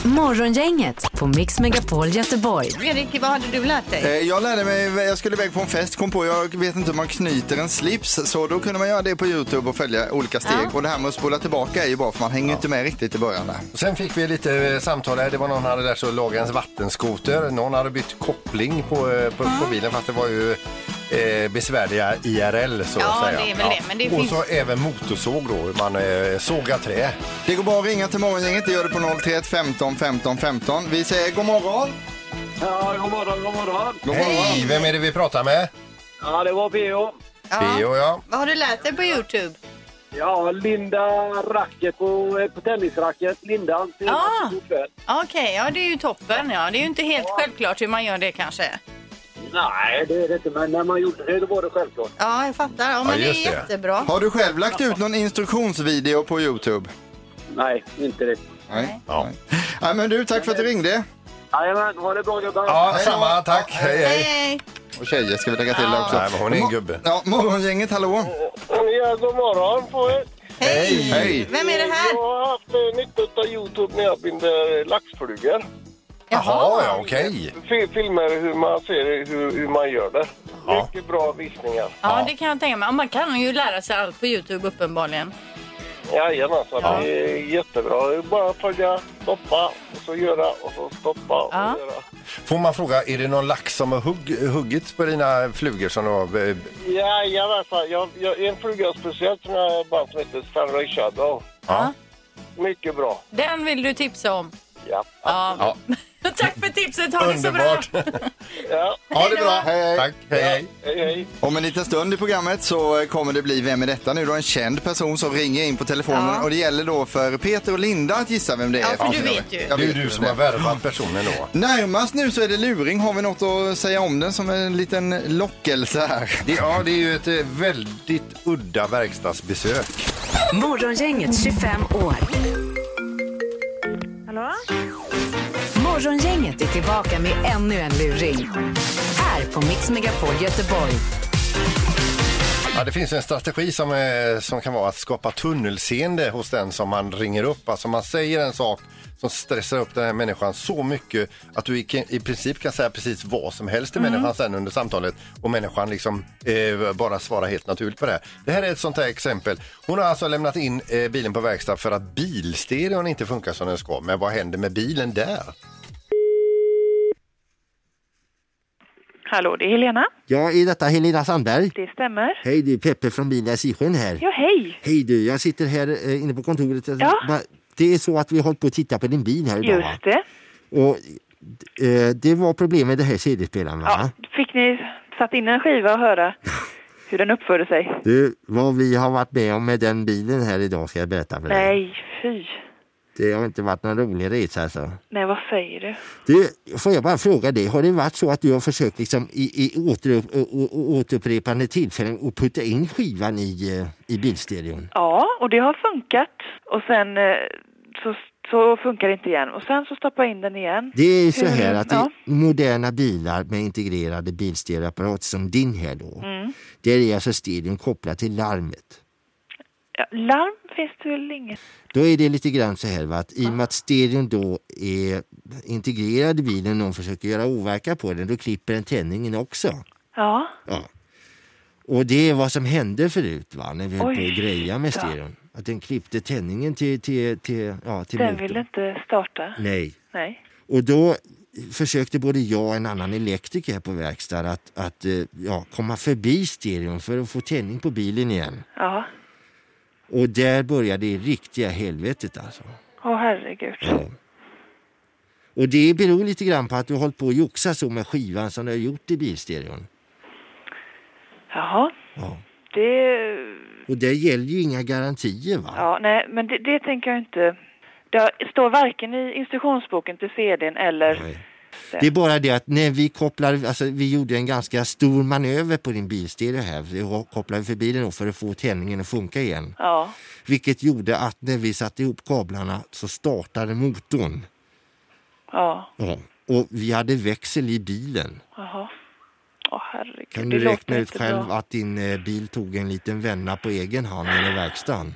S4: Morgongänget på Mix Megapol Göteborg.
S7: Erik, vad hade du lärt dig?
S5: Eh, Jag lärde mig, jag skulle iväg på en fest, kom på, jag vet inte hur man knyter en slips. Så då kunde man göra det på Youtube och följa olika steg. Och det här med att spola tillbaka är ju bra för man hänger inte med riktigt i början där.
S6: Och Sen fick vi lite eh, samtal här. Det var någon som hade lärt sig att laga en vattenskoter. Någon hade bytt koppling på, eh, på,
S7: Mm.
S6: på bilen fast det var ju eh, besvärliga IRL så
S7: Ja,
S6: att säga.
S7: det är väl det, men det
S6: och
S7: finns-
S6: så även motorsåg då, hur man eh, sågar trä.
S5: Det går bra att ringa till morgongänget, det gör du på 031 15 15 15. Vi säger god morgon!
S13: Ja, god morgon, god morgon.
S6: Hej, vem är det vi pratar med?
S13: Ja, det var P.O.
S6: Theo, ja.
S7: Vad har du lärt dig på Youtube?
S13: Ja, Linda racket på, eh, på tennisracket. Linda. till-
S7: Ah.
S13: till kväll.
S7: Okej, ja det är ju toppen. Ja. Det är ju inte helt självklart hur man gör det kanske.
S13: Nej, det är det inte. Men när man gjorde det, då var det självklart.
S7: Ja, jag fattar. Ja, men det är
S5: just det.
S7: jättebra.
S5: Har du själv lagt ut någon instruktionsvideo på Youtube?
S13: Nej, inte det.
S5: Nej. Ja. Nej men du, tack för att du ringde.
S13: Jajamän, ha det bra gubbar.
S6: Ja, samma. Tack. Hej, hej.
S7: Hej!
S5: Och tjejer ska vi lägga till där också.
S6: Nej, men hon är en gubbe.
S5: Ja, morgongänget, hallå!
S13: Ja, god morgon på er.
S7: Hej!
S5: Hej!
S7: Vem är det här?
S13: Jag har haft eh, nytta av Youtube när jag binder eh, laxflugor.
S6: Jaha, ja, okej.
S13: Fi- Filmer hur man ser hur, hur man gör det. Mycket bra visningar.
S7: Ja, det kan jag tänka mig. Ja, Man kan ju lära sig allt på Youtube uppenbarligen.
S13: Jajamän, så
S7: Ja.
S13: det är jättebra. Det är Bara att följa, stoppa och så göra och så stoppa och
S7: Ja.
S13: göra.
S6: Får man fråga, är det någon lax som har hugg, huggit på dina flugor som du har... eh,
S13: Jajamensan, jag, jag, en fluga speciellt som jag band som heter Sunray Shadow.
S6: Ja.
S13: Mycket bra.
S7: Den vill du tipsa om.
S13: Ja.
S7: Ja.
S6: Ja.
S7: Tack för tipset, ha det så bra.
S5: Underbart.
S7: ja.
S6: Ha det bra.
S5: Hej, hej.
S6: Tack. Hej, hej.
S5: Om en liten stund i programmet så eh, kommer det bli Vem är detta nu då? En känd person som ringer in på telefonen
S6: Ja.
S5: och det gäller då för Peter och Linda att gissa vem det är. Jag
S6: Det är ju du som
S5: det.
S6: har värvat personen då.
S5: Närmast nu så är det luring. Har vi något att säga om den som en liten lockelse här?
S6: Det, ja, det är ju ett eh, väldigt udda verkstadsbesök.
S4: Morgongänget 25 år.
S11: Hallå?
S4: Morgongänget är tillbaka med ännu en luring. Här på Mix Megapol Göteborg.
S6: Ja, det finns en strategi som, eh, som kan vara att skapa tunnelseende hos den som man ringer upp. Alltså man säger en sak som stressar upp den här människan så mycket att du i, i princip kan säga precis vad som helst till
S16: Mm.
S6: människan sen under samtalet och människan liksom eh, bara svarar helt naturligt på det här. Det här är ett sånt här exempel. Hon har alltså lämnat in eh, bilen på verkstad för att bilstereon inte funkar som den ska. Men vad händer med bilen där?
S17: Hallå, det är Helena.
S18: Ja, är detta Helena Sandberg?
S17: Det stämmer.
S18: Hej, det är Peppe från Bilia Sisjön här.
S17: Ja, hej.
S18: Hej du, jag sitter här eh, inne på kontoret.
S17: Ja.
S18: Va- Det är så att vi har hållit på att titta på din bil här idag. va?
S17: Just det.
S18: Och eh, det var problem med det här CD-spelaren va?
S17: Ja, fick ni satt in en skiva och höra hur den uppförde sig?
S18: Du, vad vi har varit med om med den bilen här idag ska jag berätta för dig.
S17: Nej, fy.
S18: Det har inte varit någon rolig resa alltså.
S17: Nej, vad säger du?
S18: Du, får jag bara fråga dig, har det varit så att du har försökt liksom i, i återupp, å, å, återupprepande tillfällen att putta in skivan i, eh, i bilstereon?
S17: Ja, och det har funkat. Och sen eh, så, så funkar det inte igen. Och sen så stoppar jag in den igen.
S18: Det är ju så
S17: Hur-
S18: här att
S17: Ja.
S18: i moderna bilar med integrerade bilstereoapparat som din här då,
S17: Mm.
S18: där är alltså stereon kopplad till larmet.
S17: Ja, larm finns det väl inget?
S18: Då är det lite grann så här va, att i och med att stereon då är integrerad i bilen, någon försöker göra overkan på den, då klipper den tändningen också.
S17: Ja.
S18: Ja. Och det är vad som hände förut va, när vi höll på
S17: Oj,
S18: att greja med
S17: ja.
S18: stereon. Att den klippte tändningen till, till, till, ja, till
S17: Den
S18: motorn.
S17: vill inte starta?
S18: Nej.
S17: Nej.
S18: Och då försökte både jag och en annan elektriker här på verkstad att, att eh, ja, komma förbi stereon för att få tändning på bilen igen.
S17: Ja.
S18: Och där började det riktiga helvetet alltså.
S17: Åh, herregud.
S18: Och det beror lite grann på att du har hållit på att joxa så med skivan som du har gjort i bilstereon.
S17: Jaha.
S18: Ja.
S17: Det...
S18: Och där gäller ju inga garantier va?
S17: Ja, nej, men det, det tänker jag inte. Det har- står varken i instruktionsboken till CDn eller...
S18: Det är bara det att när vi kopplade, alltså vi gjorde en ganska stor manöver på din bilstereo här. Vi kopplade förbi den då för att få tändningen att funka igen.
S17: Ja,
S18: Vilket gjorde att när vi satte ihop kablarna så startade motorn.
S17: ja,
S18: Ja. Och vi hade växel i bilen.
S17: jaha. Åh, herregud.
S18: Kan
S17: det
S18: du
S17: låter
S18: räkna ut
S17: inte
S18: själv
S17: bra.
S18: att din eh, bil tog en liten vända på egen hand i verkstaden?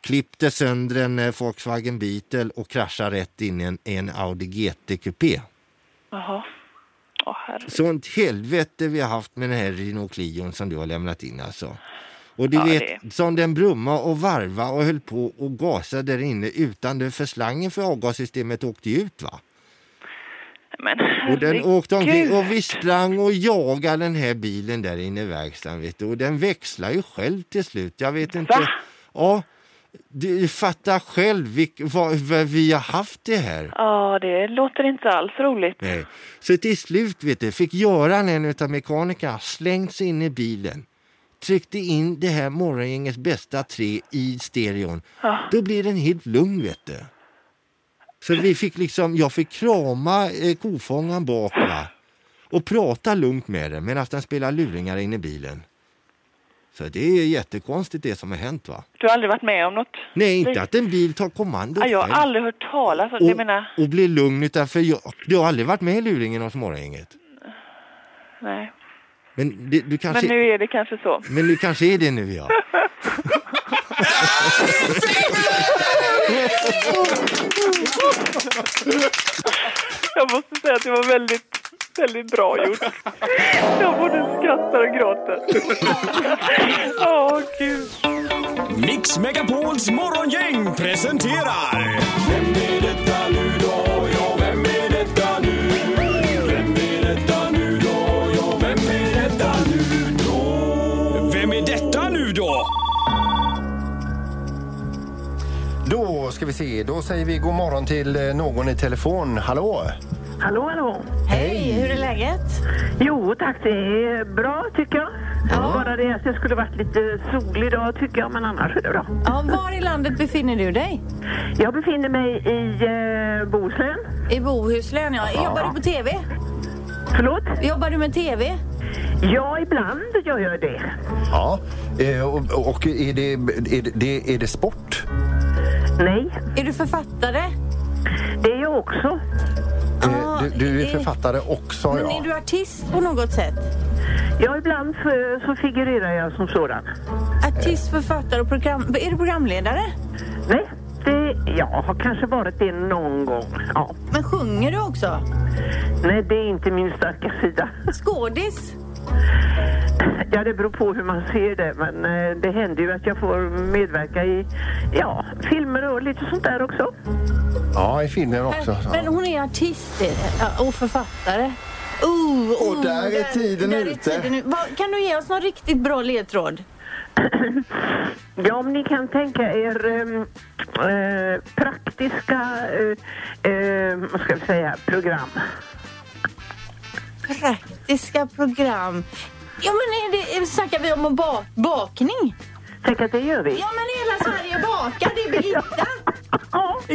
S18: Klippte sönder en eh, Volkswagen Beetle och kraschade rätt in i en, i en Audi GT-kupé.
S17: Jaha. Åh, herregud.
S18: Sånt helvete vi har haft med den här Renault Clion som du har lämnat in alltså. Och du
S17: Ja,
S18: vet,
S17: det
S18: som den brumma och varva och höll på och gasa där inne utan det för slangen för avgassystemet åkte ju ut va?
S17: Men
S18: Och den åkte omkring
S17: herregud.
S18: och vi sprang och jagade den här bilen där inne i verkstaden vet du. Och den växlar ju själv till slut. Jag vet inte. Ja, du fattar själv vilk, vad, vad vi har haft det här.
S17: Ja, det låter inte alls roligt.
S18: Nej. Så till slut vet du, fick Göran, en av mekanikerna, slängt sig in i bilen tryckte in det här morgongängets bästa tre i stereon. Då blir den helt lugn vet du. Så vi fick liksom, jag fick krama eh, kofångaren bak va? och prata lugnt med den medan den spelar luringar in i bilen. Så det är jättekonstigt det som har hänt va?
S17: Du har aldrig varit med om något?
S18: Nej, inte
S17: lik-
S18: att en bil tar kommandot
S17: Ja, jag
S18: själv
S17: har aldrig hört talas om det. Jag menar,
S18: och blir lugn utan för jag, du har aldrig varit med i luringen hos morgongänget.
S17: nej.
S18: Men det, du kanske...
S17: Men nu är det kanske så.
S18: Men nu kanske är det nu ja.
S17: Jag måste säga att det var väldigt, väldigt bra gjort. Jag både skrattar och gråter. Åh, gud.
S19: Mix Megapols morgongäng presenterar... Vem är detta nu då? Ja, vem är detta nu? Vem är detta nu då? Ja, vem är detta nu då? Vem är detta nu då?
S6: Då ska vi se. Då säger vi god morgon till eh, någon i telefon. Hallå?
S16: Hallå, hallå.
S7: Hej, hur är läget?
S16: Jo, tack. Det är bra tycker jag. Bara det att det skulle varit lite solig idag tycker jag, men annars är det bra.
S7: Ja, var i landet befinner du dig?
S16: Jag befinner mig i eh, Bohuslän.
S7: I Bohuslän, ja.
S16: Ja.
S7: Jobbar du på TV?
S16: Förlåt?
S7: Jobbar du med TV?
S16: Ja, ibland gör jag det.
S6: Ja. Eh, Och, och är, det, är, det- det, är det sport?
S16: Nej.
S7: Är du författare?
S16: Det är jag också.
S6: Eh, Du, du är
S7: eh,
S6: författare också,
S7: Men är
S6: ja.
S7: du artist på något sätt?
S16: Ja, ibland så, så figurerar jag som sådan.
S7: Artist, författare och program... Är du programledare?
S16: Nej, det, jag har kanske varit det någon gång. Ja.
S7: Men sjunger du också?
S16: Nej, det är inte min starka sida.
S7: Skådis?
S16: Ja, det beror på hur man ser det, men eh, det händer ju att jag får medverka i ja, filmer och lite sånt där också.
S6: Ja, i filmer också.
S7: Här-
S6: Ja.
S7: Men hon är artist eh, ja, och författare. Oh, oh,
S5: Och där är tiden
S7: där är
S5: ute.
S7: tiden nu. Vad- Kan du ge oss någon riktigt bra ledtråd?
S16: Ja, om ni kan tänka er ehm, eh, praktiska, eh, eh, vad ska vi säga, program.
S7: Praktiska program. Ja, men är det, är- snackar vi om att bak, bakning?
S16: Tänk att det gör vi.
S7: Ja, men hela Sverige bakar, det är Birgitta.
S16: Ja! Det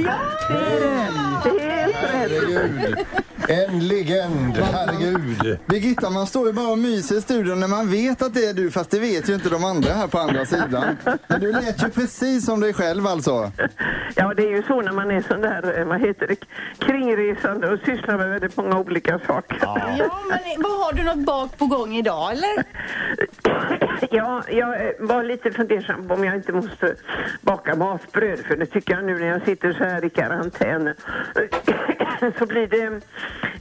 S16: är
S6: Herregud. En legend. Herregud.
S5: Birgitta, man står ju bara och myser i studion när man vet att det är du, fast det vet ju inte de andra här på andra sidan. Men du lät ju precis som dig själv alltså.
S16: Ja, det är ju så när man är sån där, eh, vad heter det, kringresande och sysslar med väldigt många olika saker.
S7: Ja, men vad har du något bak på gång idag, eller?
S16: Ja, jag eh, var lite fundersam på om jag inte måste baka matbröd för det tycker jag nu när jag sitter så här i karantän. Så blir det...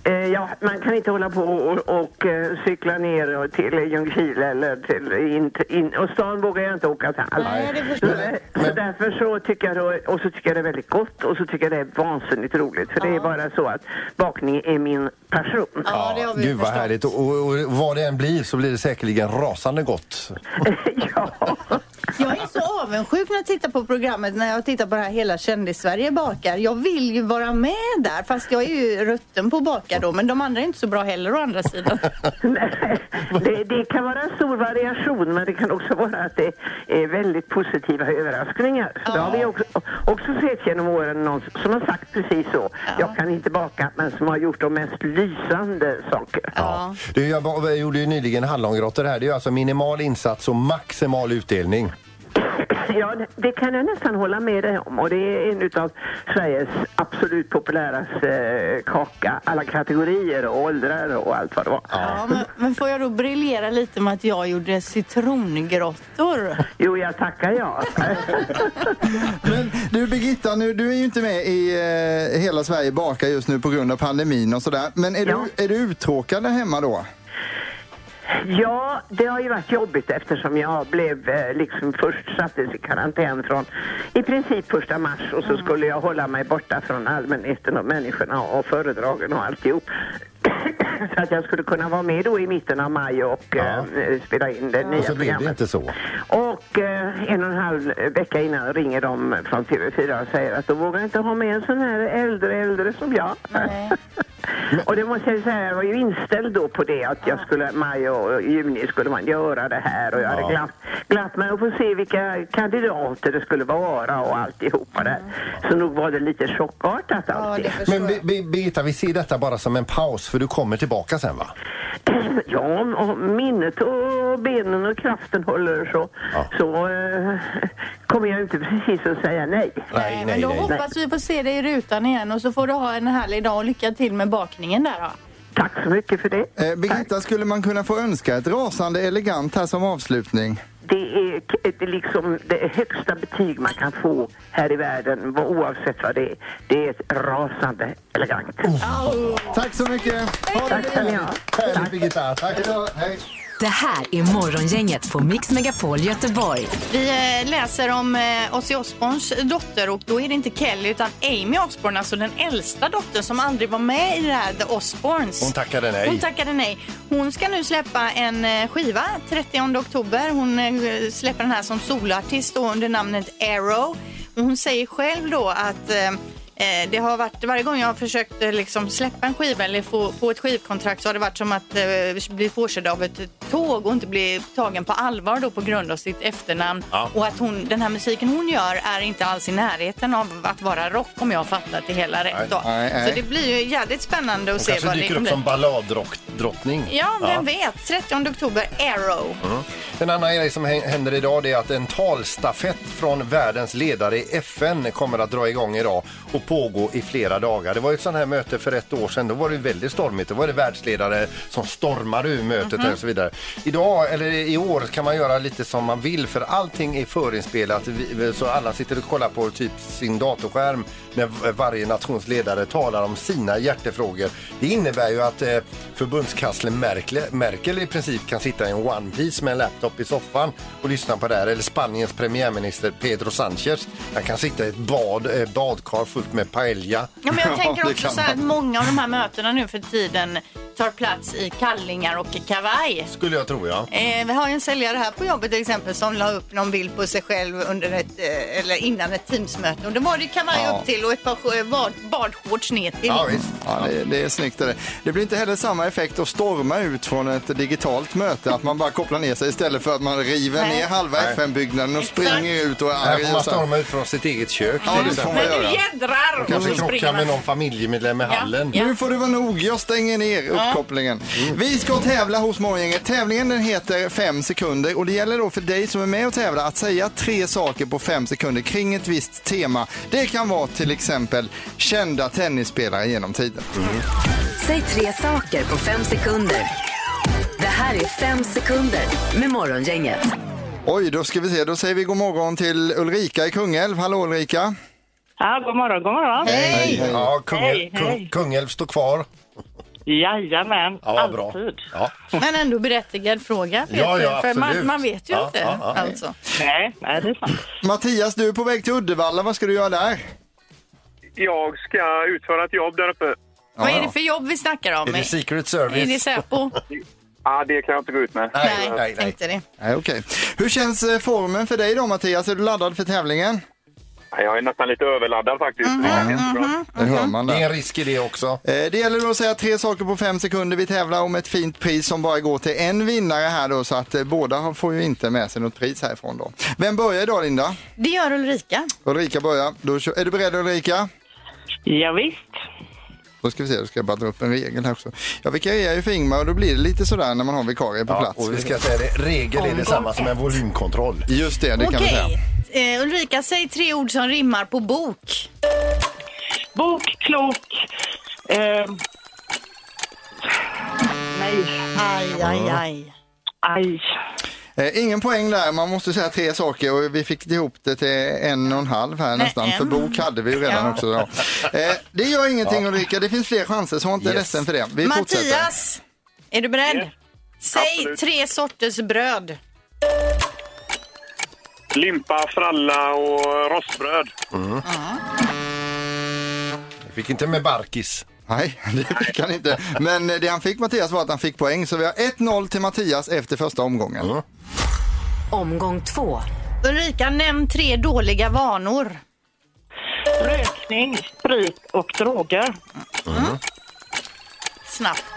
S16: Eh, ja, man kan inte hålla på och, och eh, cykla ner och till Ljungskile eller till... In, in, och stan vågar jag inte åka till alls.
S7: Nej, det
S16: så, så därför så tycker jag då, och så tycker jag det är väldigt gott och så tycker jag det är vansinnigt roligt för det är bara så att bakning är min passion.
S7: Ja, det har vi
S6: Gud vad
S7: förstått.
S6: härligt. Och, och, och vad det än blir så blir det säkerligen rasande gott.
S7: Jag är så avundsjuk när jag tittar på programmet när jag tittar på det här Hela kändis-Sverige bakar. Jag vill ju vara med där fast jag är ju rutten på att baka då men de andra är inte så bra heller å andra sidan.
S16: Det, det kan vara en stor variation, men det kan också vara att det är väldigt positiva överraskningar. Så Det har vi också, också sett genom åren någon som har sagt precis så. Jag kan inte baka, men som har gjort de mest lysande saker.
S6: Ja. Du, jag, ba- jag gjorde ju nyligen hallongrottor här. Det är ju alltså minimal insats och maximal utdelning.
S16: Ja, det- det kan jag nästan hålla med dig om. Och det är en utav Sveriges absolut populäraste eh, kaka. Alla kategorier och åldrar och allt vad det var.
S7: Ja, men, men får jag då briljera lite med att jag gjorde citrongrottor?
S16: Jo, jag tackar ja.
S5: Du Birgitta, nu, du är ju inte med i eh, Hela Sverige bakar just nu på grund av pandemin och sådär. Men är, du, är du uttråkad där hemma då?
S16: Ja, det har ju varit jobbigt eftersom jag blev eh, liksom först sattes i karantän från i princip första mars och så
S6: Mm.
S16: skulle jag hålla mig borta från allmänheten och människorna och föredragen och alltihop. så att jag skulle kunna vara med då i mitten av maj och eh, spela in det nya
S6: Och så blev det
S16: programmet.
S6: inte så.
S16: Och eh, en och en halv vecka innan ringer de från TV4 och säger att de vågar inte ha med en sån här äldre äldre som jag. och det måste jag ju säga, jag var ju inställd då på det att jag skulle, maj och juni skulle man göra det här och jag hade glatt, glatt mig att få se vilka kandidater det skulle vara och alltihopa där. Så nog var det lite chockartat allting.
S6: Men Bi- Bi- Birgitta, vi ser detta bara som en paus för du kommer tillbaka sen va?
S16: Ja, om om minnet och benen och kraften håller så, så eh, kommer jag inte precis att säga nej.
S6: Nej,
S7: Men då hoppas vi får se dig i rutan igen och så får du ha en härlig dag och lycka till med bakningen där då.
S16: Tack så mycket för det.
S5: Eh, Birgitta, skulle man kunna få önska ett rasande elegant här som avslutning?
S16: Det är k- det är liksom det högsta betyg man kan få här i världen, vad- oavsett vad det är. Det är ett rasande elegant.
S5: Tack så mycket! Ha det
S16: Oh. Tack ska ni ha.
S6: Härligt Birgitta, tack!
S5: Hej.
S4: Det här är Morgongänget på Mix Megapol Göteborg.
S7: Vi eh, läser om eh, Ozzy Osbournes dotter och då är det inte Kelly utan Amy Osbourne, alltså den äldsta dottern som aldrig var med i det här The Osbournes.
S6: Hon tackade nej.
S7: Hon tackade nej. Hon ska nu släppa en eh, skiva 30 oktober. Hon eh, släpper den här som soloartist då under namnet Arrow. Men Hon säger själv då att eh, eh, det har varit, varje gång jag har försökt eh, liksom släppa en skiva eller få, få ett skivkontrakt så har det varit som att eh, bli påkörd av ett tåg och inte bli tagen på allvar då på grund av sitt efternamn.
S20: Ja.
S7: Och att hon, den här musiken hon gör är inte alls i närheten av att vara rock om jag har fattat det hela rätt. Då.
S6: Nej, nej.
S7: Så det blir ju jävligt spännande att
S6: Hon
S7: se
S6: kanske
S7: vad det
S6: dyker
S7: kommer
S6: upp
S7: bli.
S6: som balladdrottning.
S7: Ja, vem vet. 30 oktober, Arrow.
S6: Mm. En annan grej som hä- händer idag det är att en talstafett från världens ledare i FN kommer att dra igång idag och pågå i flera dagar. Det var ju ett sånt här möte för ett år sedan. Då var det ju väldigt stormigt. Då var det världsledare som stormade ur mötet
S20: Mhm.
S6: och så vidare. Idag, eller i år, kan man göra lite som man vill för allting är förinspelat Vi- så alla sitter och kollar på typ sin datorskärm när v- varje nations ledare talar om sina hjärtefrågor. Det innebär ju att eh, förbundskansler Merkel, Merkel i princip kan sitta i en one piece med en laptop i soffan och lyssna på det här. Eller Spaniens premiärminister Pedro Sanchez. Han kan sitta i ett bad, eh, badkar fullt med paella.
S7: Ja, men jag tänker också så här att många av de här mötena nu för tiden tar plats i kallingar och i kavaj.
S6: Skulle jag tro, ja.
S7: Eh, vi har ju en säljare här på jobbet till exempel som la upp någon bild på sig själv under ett, eh, eller innan ett Teamsmöte. Och då var det kavaj
S5: Ja.
S7: upp till och ett par eh, bad, badshorts ner till.
S5: Ja, det, det är snyggt. Det. det blir inte heller samma effekt att storma ut från ett digitalt möte, att man bara kopplar ner sig istället för att man river
S7: Nej.
S5: ner halva
S6: Nej.
S5: FN-byggnaden och springer ut och är
S6: Här
S5: arg.
S6: får
S5: och
S6: man
S5: så här.
S6: storma ut från sitt eget kök.
S5: Ja,
S6: till
S5: det
S6: exempel.
S5: får man göra.
S7: Jädrar!
S6: Kanske
S5: Och så
S6: krocka
S5: springer man.
S6: med någon familjemedlem i hallen. Mm.
S5: Nu får det vara nog, jag stänger ner
S6: Ja.
S5: uppkopplingen. Vi ska tävla hos Morgongänget. Tävlingen den heter 5 sekunder och det gäller då för dig som är med och tävlar att säga tre saker på 5 sekunder kring ett visst tema. Det kan vara till exempel kända tennisspelare genom tiden.
S6: Mm.
S4: Säg tre saker på fem sekunder. Det här är fem sekunder med Morgongänget.
S5: Oj, då ska vi se. Då säger vi god morgon till Ulrika i Kungälv. Hallå Ulrika!
S17: Ja, god morgon, god morgon.
S6: Ja, Kungälv,
S17: Hej,
S6: Kung,
S17: hej.
S6: Kungälv står kvar.
S17: Jajamän,
S6: Ja, vad bra.
S17: alltid.
S6: Ja.
S7: Men ändå berättigad fråga, Peter.
S5: Ja, ja,
S7: för man,
S5: absolut.
S7: man vet ju
S5: Ja,
S7: inte.
S5: ja, ja.
S7: Alltså.
S17: Nej, nej, det är sant.
S5: Mattias, du är på väg till Uddevalla. Vad ska du göra där?
S13: Jag ska utföra ett jobb där uppe.
S7: Vad är det för jobb vi snackar om?
S6: Secret
S7: Är det Säpo?
S13: Ja, Ah, det kan jag inte gå ut med.
S7: Nej, nej, tänkte det.
S5: Nej, okej. Hur känns eh, formen för dig då Mattias? Är du laddad för tävlingen?
S13: Nej, Jag är nästan lite överladdad faktiskt.
S7: Mm-hmm.
S5: Det hör man där.
S6: Det är en risk i det också.
S5: Eh, Det gäller då att säga tre saker på fem sekunder. Vi tävlar om ett fint pris som bara går till en vinnare här då, så att eh, båda har- får ju inte med sig något pris härifrån då. Vem börjar idag Linda?
S7: Det gör Ulrika.
S5: Ulrika börjar. Då, kö- är du beredd Ulrika?
S17: Ja, visst.
S5: Då ska vi se, då ska jag bara dra upp en regel här också. Jag vikarierar ju för Ingmar och då blir det lite sådär när man har vikarie på plats.
S6: Och vi ska säga det, regel är detsamma som en volymkontroll.
S5: Just det, det kan vi säga.
S7: Okej. Eh, Ulrika, säg tre ord som rimmar på bok.
S17: Bok, klok. Ehm. Nej.
S7: Aj, aj, aj.
S17: Aj.
S5: Eh, ingen poäng där, man måste säga tre saker och vi fick ihop det till en och en halv här nästan,
S17: en.
S5: för bok hade vi ju redan också. Ja. Eh, det gör ingenting Ulrika, det finns fler chanser så var inte
S17: Yes.
S5: ledsen för det. Vi fortsätter.
S7: Mattias, är du beredd? Säg tre sorters bröd.
S13: Limpa, fralla och rostbröd.
S6: Vi Mm. fick inte med barkis.
S5: Nej, det fick han inte. Men eh, det han fick Mattias var att han fick poäng, så vi har 1-0 till Mattias efter första omgången.
S4: Omgång två.
S7: Ulrika, nämn tre dåliga vanor.
S17: Rökning, sprit och droger.
S5: Mm.
S7: Snabbt.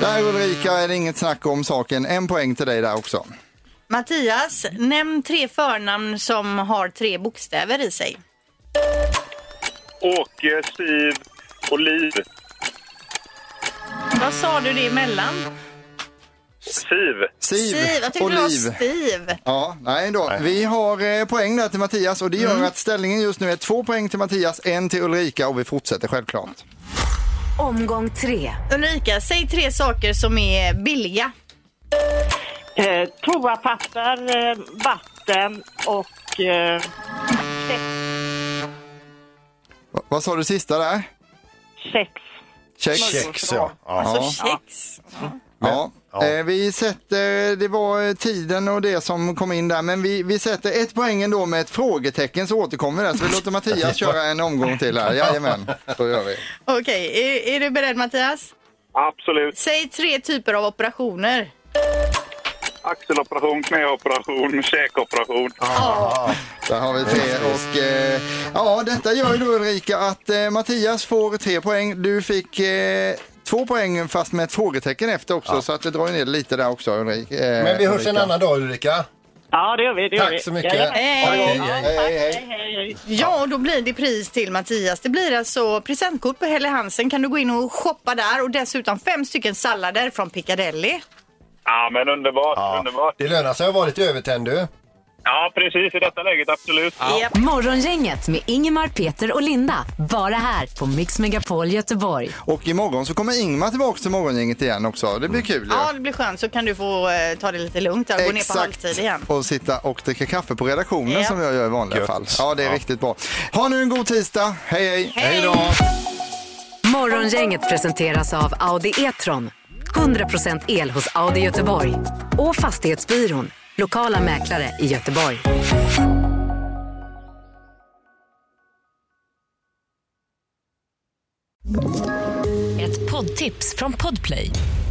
S5: Där Ulrika är det inget snack om saken. En poäng till dig där också.
S7: Mattias, nämn tre förnamn som har tre bokstäver i sig.
S13: Åke, Siv och Liv.
S7: Vad sa du det emellan?
S13: Siv.
S7: Steve. Jag tyckte det var Steve.
S5: Ja, nej då. Vi har eh, poäng där till Mattias och det gör att ställningen just nu är två poäng till Mattias, en till Ulrika och vi fortsätter självklart.
S4: Omgång tre.
S7: Ulrika, säg tre saker som är billiga.
S17: Eh, toapapper, eh, vatten och... Eh,
S5: Va- vad sa du sista där?
S17: Sex.
S5: Check.
S6: Chex, ja.
S5: Alltså,
S6: Ja.
S5: Ja. Eh, vi sätter, det var eh, tiden och det som kom in där, men vi, vi sätter ett poäng ändå med ett frågetecken så återkommer vi där. Så vi låter Mattias köra en omgång till här. Jajamän, så gör vi.
S7: Okej, är, är du beredd Mattias?
S13: Absolut.
S7: Säg tre typer av operationer.
S13: Axeloperation, knäoperation, käkoperation.
S5: Där har vi tre. Och, eh, ja, detta gör ju då Ulrika att eh, Mattias får tre poäng. Du fick eh, två poäng fast med ett frågetecken efter också. Så att det drar ju ner lite där också Ulrika. Eh,
S6: Men vi hörs en
S5: Ulrika.
S6: annan dag Ulrika.
S7: Ja, det gör vi.
S6: det gör Tack vi. så mycket.
S7: Hej,
S6: Hej,
S7: hej.
S6: hej.
S7: hej, hej. Ja, och då blir det pris till Mattias. Det blir alltså presentkort på Helle Hansen. Kan du gå in och shoppa där och dessutom fem stycken sallader från Piccadilly.
S13: Ja, men underbart, underbart.
S6: Det lönar sig att vara lite övertänd du.
S13: Ja, precis. I detta läget, absolut.
S4: Morgongänget med Ingemar, Peter och Linda. Bara här på Mix Megapol Göteborg.
S5: Och imorgon så kommer Ingmar tillbaka till morgongänget igen också. Det
S6: Mm.
S5: blir kul ju.
S7: Ja, det blir skönt. Så kan du få eh, ta det lite lugnt där och gå ner på halvtid igen.
S5: Och sitta och dricka kaffe på redaktionen
S7: Ja.
S5: som jag gör i vanliga
S6: Gött.
S5: fall. Ja, det är riktigt bra. Ha nu en god tisdag. Hej, hej. Hej då.
S4: Morgongänget presenteras av Audi E-tron. 100% el hos Audi Göteborg. Och Fastighetsbyrån. Lokala mäklare i Göteborg.
S20: Ett poddtips från Podplay.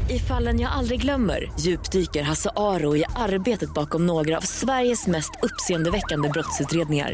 S20: I fallen jag aldrig glömmer djupdyker Hasse Aro i arbetet bakom några av Sveriges mest uppseendeväckande brottsutredningar.